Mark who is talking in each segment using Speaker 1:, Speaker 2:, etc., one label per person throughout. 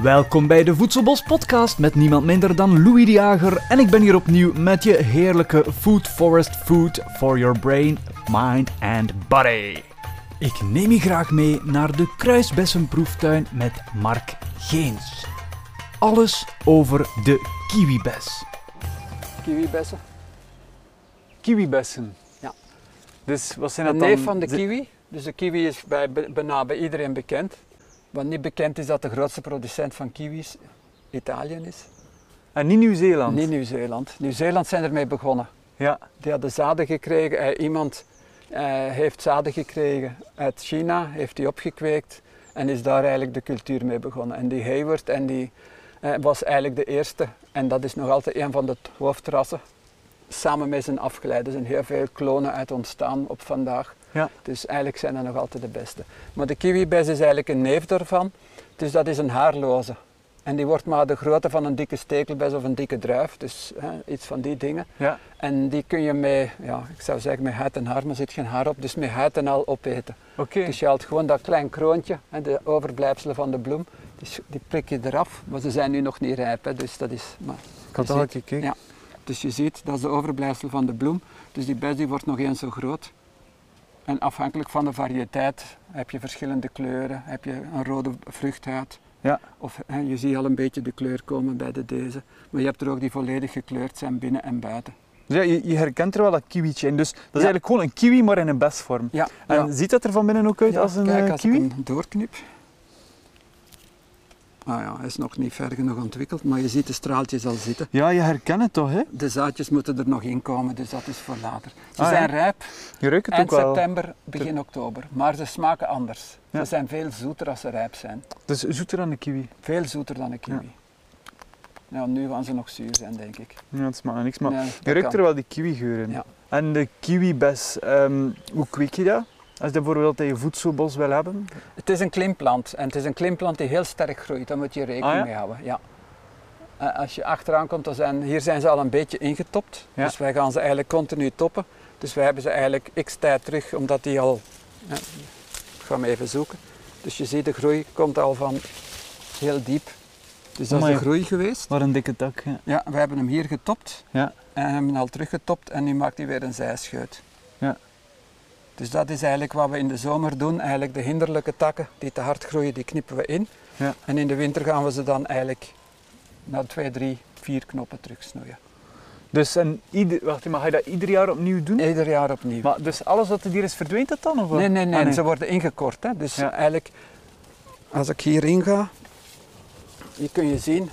Speaker 1: Welkom bij de Voedselbos podcast met niemand minder dan Louis de Jager en ik ben hier opnieuw met je heerlijke Food Forest Food for your brain, mind and body. Ik neem je graag mee naar de kruisbessenproeftuin met Mark Geens. Alles over de kiwibes.
Speaker 2: Kiwibessen.
Speaker 3: kiwibessen.
Speaker 2: Ja.
Speaker 3: Dus wat zijn
Speaker 2: Een
Speaker 3: dat dan?
Speaker 2: neef van de
Speaker 3: Ze-
Speaker 2: kiwi. Dus de kiwi is bij, bij- bijna bij iedereen bekend. Wat niet bekend is dat de grootste producent van kiwis Italië is.
Speaker 3: En Ah, niet Nieuw-Zeeland.
Speaker 2: Niet Nieuw-Zeeland. Nieuw-Zeeland zijn ermee begonnen.
Speaker 3: Ja.
Speaker 2: Die hadden zaden gekregen. Eh, iemand eh, heeft zaden gekregen uit China, heeft die opgekweekt en is daar eigenlijk de cultuur mee begonnen. En die Hayward en die, eh, was eigenlijk de eerste. En dat is nog altijd een van de t- hoofdrassen. Samen met zijn afgeleiden Er zijn heel veel klonen uit ontstaan op vandaag.
Speaker 3: Ja.
Speaker 2: Dus eigenlijk zijn dat nog altijd de beste. Maar de kiwibes is eigenlijk een neef daarvan. Dus dat is een haarloze. En die wordt maar de grootte van een dikke stekelbes of een dikke druif. Dus hè, iets van die dingen.
Speaker 3: Ja.
Speaker 2: En die kun je met, ja, ik zou zeggen met huid en haar, maar er zit geen haar op, dus met huid en al opeten.
Speaker 3: Oké.
Speaker 2: Dus je haalt gewoon dat klein kroontje, hè, de overblijfselen van de bloem, dus die prik je eraf, maar ze zijn nu nog niet rijp, hè, dus dat is... Maar,
Speaker 3: Ik had
Speaker 2: je
Speaker 3: al
Speaker 2: ziet-
Speaker 3: gekeken.
Speaker 2: Ja. Dus je ziet, dat is de overblijfsel van de bloem, dus die bes die wordt nog eens zo groot. En afhankelijk van de variëteit heb je verschillende kleuren, heb je een rode vruchthuid.
Speaker 3: Ja.
Speaker 2: Of hè, je ziet al een beetje de kleur komen bij de deze, maar je hebt er ook die volledig gekleurd zijn binnen en buiten.
Speaker 3: Dus ja, je, je herkent er wel dat kiwietje in. Dus dat is
Speaker 2: Ja.
Speaker 3: eigenlijk gewoon een kiwi, maar in een besvorm.
Speaker 2: Ja,
Speaker 3: En
Speaker 2: ja.
Speaker 3: ziet dat er van binnen ook uit
Speaker 2: Ja,
Speaker 3: als een
Speaker 2: kijk,
Speaker 3: eh,
Speaker 2: als
Speaker 3: kiwi?
Speaker 2: ik hem doorknip. Ah ja, hij is nog niet ver genoeg ontwikkeld, maar je ziet de straaltjes al zitten.
Speaker 3: Ja, je herkent het toch, hè?
Speaker 2: De zaadjes moeten er nog in komen, dus dat is voor later. Ze
Speaker 3: Ah, ja.
Speaker 2: zijn rijp
Speaker 3: Je ruikt het
Speaker 2: eind
Speaker 3: ook wel.
Speaker 2: september, begin oktober. Maar ze smaken anders.
Speaker 3: Ja.
Speaker 2: Ze zijn veel zoeter als ze rijp zijn.
Speaker 3: Dus zoeter dan de kiwi.
Speaker 2: Veel zoeter dan een kiwi. Nou, nu gaan ze nog zuur zijn, denk ik.
Speaker 3: Ja, het smaakt naar niks, maar
Speaker 2: Nee,
Speaker 3: je
Speaker 2: dat
Speaker 3: ruikt
Speaker 2: kan.
Speaker 3: er wel die kiwi-geur in.
Speaker 2: Ja.
Speaker 3: En de kiwibes, ehm, hoe kweek je dat? Als je dat bijvoorbeeld in je voedselbos wil hebben.
Speaker 2: Het is een klimplant en het is een klimplant die heel sterk groeit, daar moet je rekening
Speaker 3: Ah, ja?
Speaker 2: mee houden. Ja. Eh, Als je achteraan komt, dan zijn, hier zijn ze al een beetje ingetopt.
Speaker 3: Ja.
Speaker 2: Dus wij gaan ze eigenlijk continu toppen. Dus wij hebben ze eigenlijk x tijd terug, omdat die al... Ja, ik ga hem even zoeken. Dus je ziet, de groei komt al van heel diep. Dus dat is
Speaker 3: Amai.
Speaker 2: de groei geweest.
Speaker 3: Wat een dikke tak. Ja.
Speaker 2: Ja, we hebben hem hier getopt
Speaker 3: Ja.
Speaker 2: en hebben hem al teruggetopt en nu maakt hij weer een zijscheut.
Speaker 3: Ja.
Speaker 2: Dus dat is eigenlijk wat we in de zomer doen. Eigenlijk de hinderlijke takken die te hard groeien, die knippen we in.
Speaker 3: Ja.
Speaker 2: En in de winter gaan we ze dan eigenlijk naar twee, drie, vier knoppen terugsnoeien.
Speaker 3: Dus en ieder, wacht, maar ga je dat ieder jaar opnieuw doen?
Speaker 2: Ieder jaar opnieuw.
Speaker 3: Maar dus alles wat er hier is, verdwijnt dat dan? Of wat?
Speaker 2: nee, nee, nee,
Speaker 3: Ah,
Speaker 2: Ze worden ingekort. Hè. Dus
Speaker 3: Ja.
Speaker 2: eigenlijk, als ik hierin ga, hier kun je zien,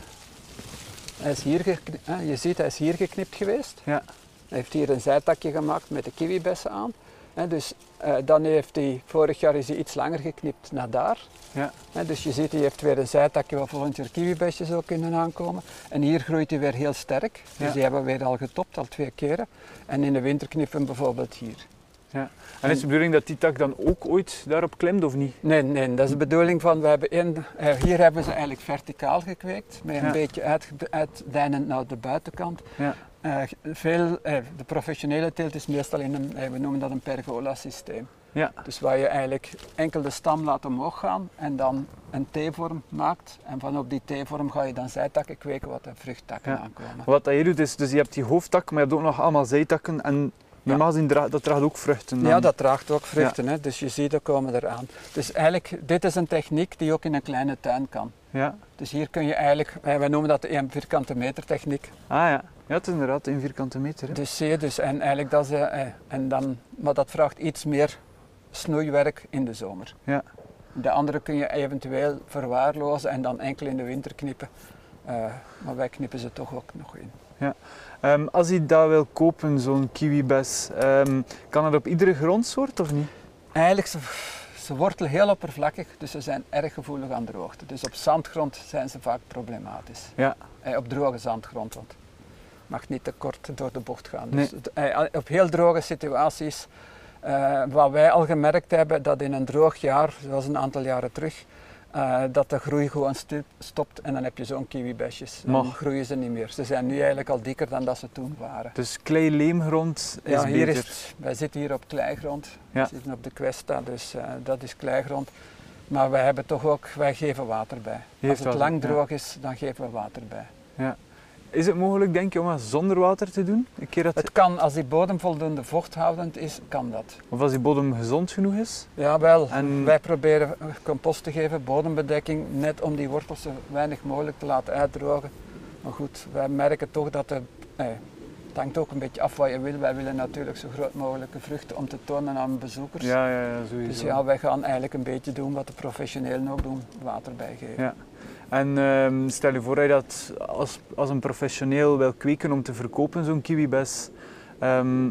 Speaker 2: hij is hier gekni- hè, je ziet hij is hier geknipt geweest.
Speaker 3: Ja.
Speaker 2: Hij heeft hier een zijtakje gemaakt met de kiwibessen aan. Hè, dus eh, dan heeft hij, vorig jaar is hij iets langer geknipt naar daar.
Speaker 3: Ja.
Speaker 2: Hè, dus je ziet, hij heeft weer een zijtakje waar volgend jaar kiwibesjes zou kunnen aankomen. En hier groeit hij weer heel sterk. Dus
Speaker 3: Ja.
Speaker 2: die hebben we weer al getopt, al twee keren. En in de winter knippen we hem bijvoorbeeld hier.
Speaker 3: En is de bedoeling dat die tak dan ook ooit daarop klimt of niet?
Speaker 2: Nee, nee, dat is de bedoeling van, we hebben één- eh, hier hebben ze eigenlijk verticaal gekweekt, met een
Speaker 3: Ja.
Speaker 2: beetje uit, uitdijnend naar de buitenkant.
Speaker 3: Ja.
Speaker 2: Eh, veel, eh, de professionele teelt is meestal in een, eh, we noemen dat een pergola systeem.
Speaker 3: Ja.
Speaker 2: Dus waar je eigenlijk enkel de stam laat omhoog gaan en dan een T-vorm maakt. En van op die T-vorm ga je dan zijtakken kweken wat de vruchttakken
Speaker 3: Ja.
Speaker 2: aankomen.
Speaker 3: Wat dat je doet is, dus je hebt die hoofdtak, maar je hebt ook nog allemaal zijtakken en normaal gezien draagt dat draagt ook vruchten. dan.
Speaker 2: Ja, dat draagt ook vruchten, hè? dus je ziet, er komen eraan. Dus eigenlijk, dit is een techniek die ook in een kleine tuin kan.
Speaker 3: Ja.
Speaker 2: Dus hier kun je eigenlijk, eh, wij noemen dat de 1 vierkante meter techniek.
Speaker 3: Ah ja. Ja, het is inderdaad een vierkante meter. Hè?
Speaker 2: Dus zie je, dus, en eigenlijk dat is, eh, eh, en dan, maar dat vraagt iets meer snoeiwerk in de zomer.
Speaker 3: Ja.
Speaker 2: De andere kun je eventueel verwaarlozen en dan enkel in de winter knippen. Eh, maar wij knippen ze toch ook nog in.
Speaker 3: Ehm, als je dat wil kopen, zo'n kiwibes, ehm, kan dat op iedere grondsoort of niet?
Speaker 2: Eigenlijk, ze, ze wortelen heel oppervlakkig, dus ze zijn erg gevoelig aan droogte. Dus op zandgrond zijn ze vaak problematisch.
Speaker 3: Ja.
Speaker 2: Eh, op droge zandgrond, want het mag niet te kort door de bocht gaan. Dus het- eh, op heel droge situaties, eh, wat wij al gemerkt hebben, dat in een droog jaar, zoals een aantal jaren terug, eh, dat de groei gewoon stu- stopt en dan heb je zo'n kiwibesjes. Dan
Speaker 3: Mag.
Speaker 2: groeien ze niet meer. Ze zijn nu eigenlijk al dikker dan dat ze toen waren.
Speaker 3: Dus klei-leemgrond is
Speaker 2: Ja, hier
Speaker 3: beter.
Speaker 2: is het- wij zitten hier op kleigrond,
Speaker 3: Ja.
Speaker 2: we zitten op de Questa, dus eh, dat is kleigrond. Maar wij hebben toch ook, wij geven water bij.
Speaker 3: geeft
Speaker 2: Als het
Speaker 3: water,
Speaker 2: lang
Speaker 3: ja.
Speaker 2: droog is, dan geven we water bij.
Speaker 3: Is het mogelijk, denk je, om dat zonder water te doen? Een keer dat,
Speaker 2: Het kan, als die bodem voldoende vochthoudend is, kan dat.
Speaker 3: Of als die bodem gezond genoeg is?
Speaker 2: Jawel,
Speaker 3: En-
Speaker 2: wij proberen compost te geven, bodembedekking, net om die wortels zo weinig mogelijk te laten uitdrogen. Maar goed, wij merken toch dat er... eh, het hangt ook een beetje af wat je wil. Wij willen natuurlijk zo groot mogelijke vruchten om te tonen aan bezoekers.
Speaker 3: Ja, ja, ja sowieso.
Speaker 2: dus ja, wij gaan eigenlijk een beetje doen wat de professionelen ook doen, water bijgeven.
Speaker 3: Ja. En ehm, stel je voor dat je dat als, als een professioneel wil kweken om te verkopen, zo'n kiwibes. Ehm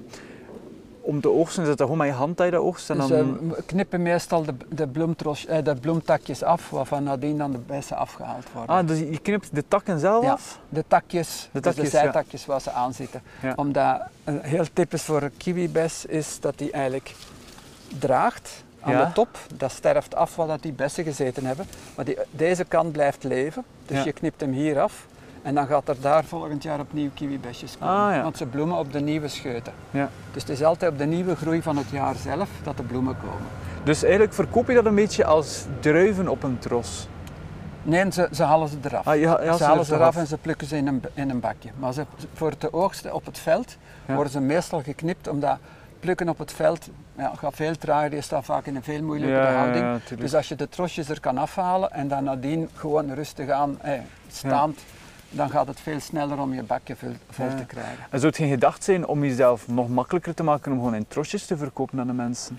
Speaker 3: om te oogsten, is dat gewoon met je hand dat je dat oogst? En dan...
Speaker 2: Dus eh, we knippen meestal de, de, bloemtros, eh, de bloemtakjes af, waarvan nadien dan de bessen afgehaald worden.
Speaker 3: ah, dus je knipt de takken zelf
Speaker 2: Ja.
Speaker 3: af?
Speaker 2: De takjes,
Speaker 3: De
Speaker 2: de,
Speaker 3: takjes,
Speaker 2: dus de zijtakjes waar ze aan zitten.
Speaker 3: Ja.
Speaker 2: Omdat een heel typisch voor een kiwibes is dat die eigenlijk draagt aan
Speaker 3: Ja.
Speaker 2: de top. Dat sterft af wat dat die bessen gezeten hebben. Maar die, deze kant blijft leven, dus
Speaker 3: Ja.
Speaker 2: je knipt hem hier af. En dan gaat er daar volgend jaar opnieuw kiwibesjes komen.
Speaker 3: Ah, ja.
Speaker 2: Want ze bloemen op de nieuwe scheuten.
Speaker 3: Ja.
Speaker 2: Dus het is altijd op de nieuwe groei van het jaar zelf dat de bloemen komen.
Speaker 3: Dus eigenlijk verkoop je dat een beetje als druiven op een tros.
Speaker 2: Nee, ze, ze halen ze eraf.
Speaker 3: Ah, ja, ja,
Speaker 2: ze halen
Speaker 3: er
Speaker 2: ze
Speaker 3: toch
Speaker 2: eraf
Speaker 3: af.
Speaker 2: en ze plukken ze in een, in een bakje. Maar ze, voor het oogsten op het veld
Speaker 3: Ja.
Speaker 2: worden ze meestal geknipt, omdat plukken op het veld ja, gaat veel trager, je staat vaak in een veel moeilijkere
Speaker 3: Ja, ja,
Speaker 2: houding.
Speaker 3: ja, tuurlijk.
Speaker 2: dus als je de trosjes er kan afhalen en dan nadien gewoon rustig aan eh, staand, dan gaat het veel sneller om je bakje vol, vol
Speaker 3: Ja.
Speaker 2: te krijgen.
Speaker 3: En zou het geen gedacht zijn om jezelf nog makkelijker te maken om gewoon in trosjes te verkopen aan de mensen?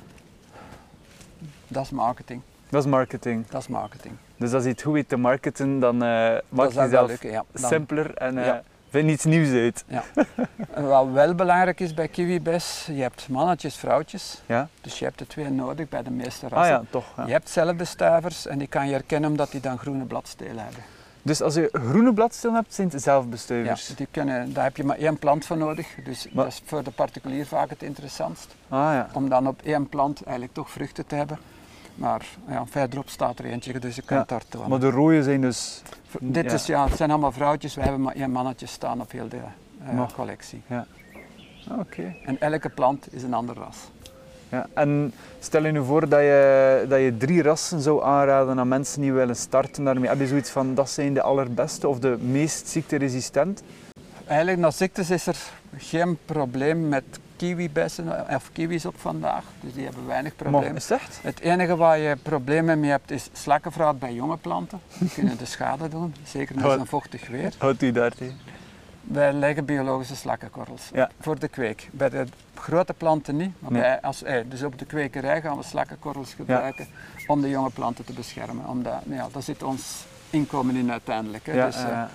Speaker 2: Dat is marketing.
Speaker 3: Dat is marketing.
Speaker 2: Dat is marketing.
Speaker 3: Dus als je het goed weet te marketen, dan eh maak
Speaker 2: dat zou
Speaker 3: je
Speaker 2: wel
Speaker 3: jezelf
Speaker 2: lukken. Ja. Dan-
Speaker 3: simpeler en eh,
Speaker 2: Ja.
Speaker 3: vind iets nieuws uit.
Speaker 2: En Wat wel belangrijk is bij kiwibes, je hebt mannetjes, vrouwtjes.
Speaker 3: Ja?
Speaker 2: Dus je hebt de twee nodig bij de meeste
Speaker 3: Ah
Speaker 2: rassen.
Speaker 3: ja, toch. ja.
Speaker 2: Je hebt zelfbestuivers en die kan je herkennen omdat die dan groene bladstelen hebben.
Speaker 3: Dus als je groene bladstelen hebt, zijn het
Speaker 2: Ja,
Speaker 3: zelfbestuivers.
Speaker 2: die kunnen, daar heb je maar één plant voor nodig. Dus
Speaker 3: Maar-
Speaker 2: dat is voor de particulier vaak het interessantst.
Speaker 3: Ah ja.
Speaker 2: Om dan op één plant eigenlijk toch vruchten te hebben. Maar ja, verderop staat er eentje, dus je kunt
Speaker 3: Ja,
Speaker 2: daar tonen.
Speaker 3: Maar de rode zijn dus.
Speaker 2: V- Dit
Speaker 3: ja.
Speaker 2: Is, ja, het zijn allemaal vrouwtjes, we hebben maar één mannetje staan op heel de eh,
Speaker 3: Maar-
Speaker 2: collectie.
Speaker 3: Oké.
Speaker 2: En elke plant is een ander ras.
Speaker 3: Ja. En stel je nu voor dat je, dat je drie rassen zou aanraden aan mensen die willen starten daarmee. Heb je zoiets van dat zijn de allerbeste of de meest ziekteresistent?
Speaker 2: Eigenlijk na ziektes is er geen probleem met kiwibessen eh, of kiwis op vandaag. Dus die hebben weinig
Speaker 3: Maar
Speaker 2: probleem.
Speaker 3: is het echt?
Speaker 2: Het enige waar je problemen mee hebt is slakkenvraat bij jonge planten. Die kunnen de schade doen, zeker met
Speaker 3: Wat?
Speaker 2: een vochtig weer.
Speaker 3: Houdt u daar tegen?
Speaker 2: Wij leggen biologische slakkenkorrels
Speaker 3: Ja.
Speaker 2: voor de kweek. Bij de grote planten niet, maar
Speaker 3: Nee.
Speaker 2: bij, als, ei. dus op de kwekerij gaan we slakkenkorrels gebruiken om de jonge planten te beschermen. Omdat, nou ja, daar zit ons inkomen in uiteindelijk. Hè.
Speaker 3: Ja,
Speaker 2: dus, eh,
Speaker 3: ja,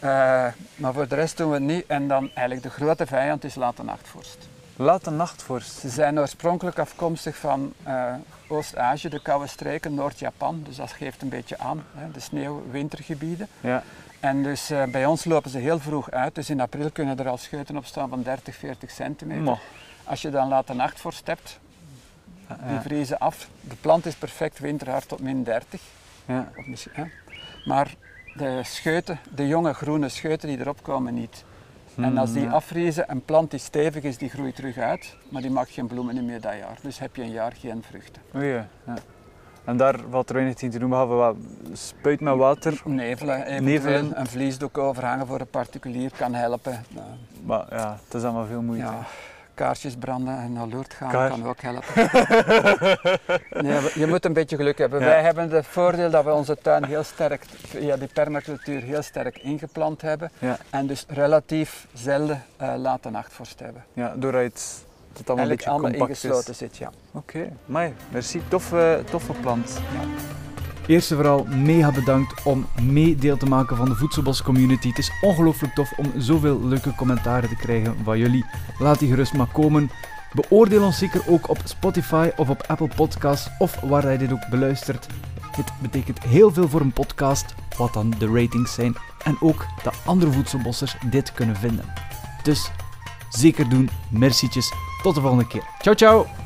Speaker 3: ja.
Speaker 2: eh, maar voor de rest doen we het niet. En dan eigenlijk de grote vijand is late nachtvorst.
Speaker 3: Laat de nachtvorst.
Speaker 2: Ze zijn oorspronkelijk afkomstig van eh, Oost-Azië, de koude streken, Noord-Japan. Dus dat geeft een beetje aan, hè, de sneeuw-wintergebieden.
Speaker 3: Ja.
Speaker 2: En dus eh, bij ons lopen ze heel vroeg uit. Dus in april kunnen er al scheuten op staan van 30, 40 centimeter.
Speaker 3: Maar,
Speaker 2: Als je dan late nachtvorst hebt, die
Speaker 3: ja.
Speaker 2: vriezen af. De plant is perfect winterhard tot min 30.
Speaker 3: Ja.
Speaker 2: Of misschien, hè. Maar de scheuten, de jonge groene scheuten die erop komen, niet. En als die
Speaker 3: Hmm,
Speaker 2: afvriezen, een plant die stevig is, die groeit terug uit, maar die maakt geen bloemen meer dat jaar. Dus heb je een jaar geen vruchten.
Speaker 3: Oei, ja. En daar valt er weinig tegen te doen, behalve wat spuit met water.
Speaker 2: Nevelen, eventueel
Speaker 3: Nevelen.
Speaker 2: een vliesdoek overhangen voor een particulier kan helpen. Nou,
Speaker 3: Maar ja, het is allemaal veel moeite.
Speaker 2: ja, kaarsjes branden en alert gaan
Speaker 3: Kaars-
Speaker 2: kan ook helpen. Nee, we- je moet een beetje geluk hebben.
Speaker 3: Ja.
Speaker 2: Wij hebben het voordeel dat we onze tuin heel sterk, via die permacultuur, heel sterk ingeplant hebben.
Speaker 3: Ja.
Speaker 2: En dus relatief zelden eh late nachtvorst hebben.
Speaker 3: Ja, doordat het, dat het allemaal
Speaker 2: Eigenlijk
Speaker 3: een
Speaker 2: allemaal
Speaker 3: beetje compact
Speaker 2: ingesloten
Speaker 3: is.
Speaker 2: zit, ja.
Speaker 3: Oké, maar merci. Toffe, toffe plant.
Speaker 1: Eerst en vooral mega bedankt om mee deel te maken van de Voedselbos community. Het is ongelooflijk tof om zoveel leuke commentaren te krijgen van jullie. Laat die gerust maar komen. Beoordeel ons zeker ook op Spotify of op Apple Podcasts of waar jij dit ook beluistert. Dit betekent heel veel voor een podcast, wat dan de ratings zijn en ook dat andere voedselbossers dit kunnen vinden. Dus zeker doen, mercietjes. Tot de volgende keer. Ciao ciao!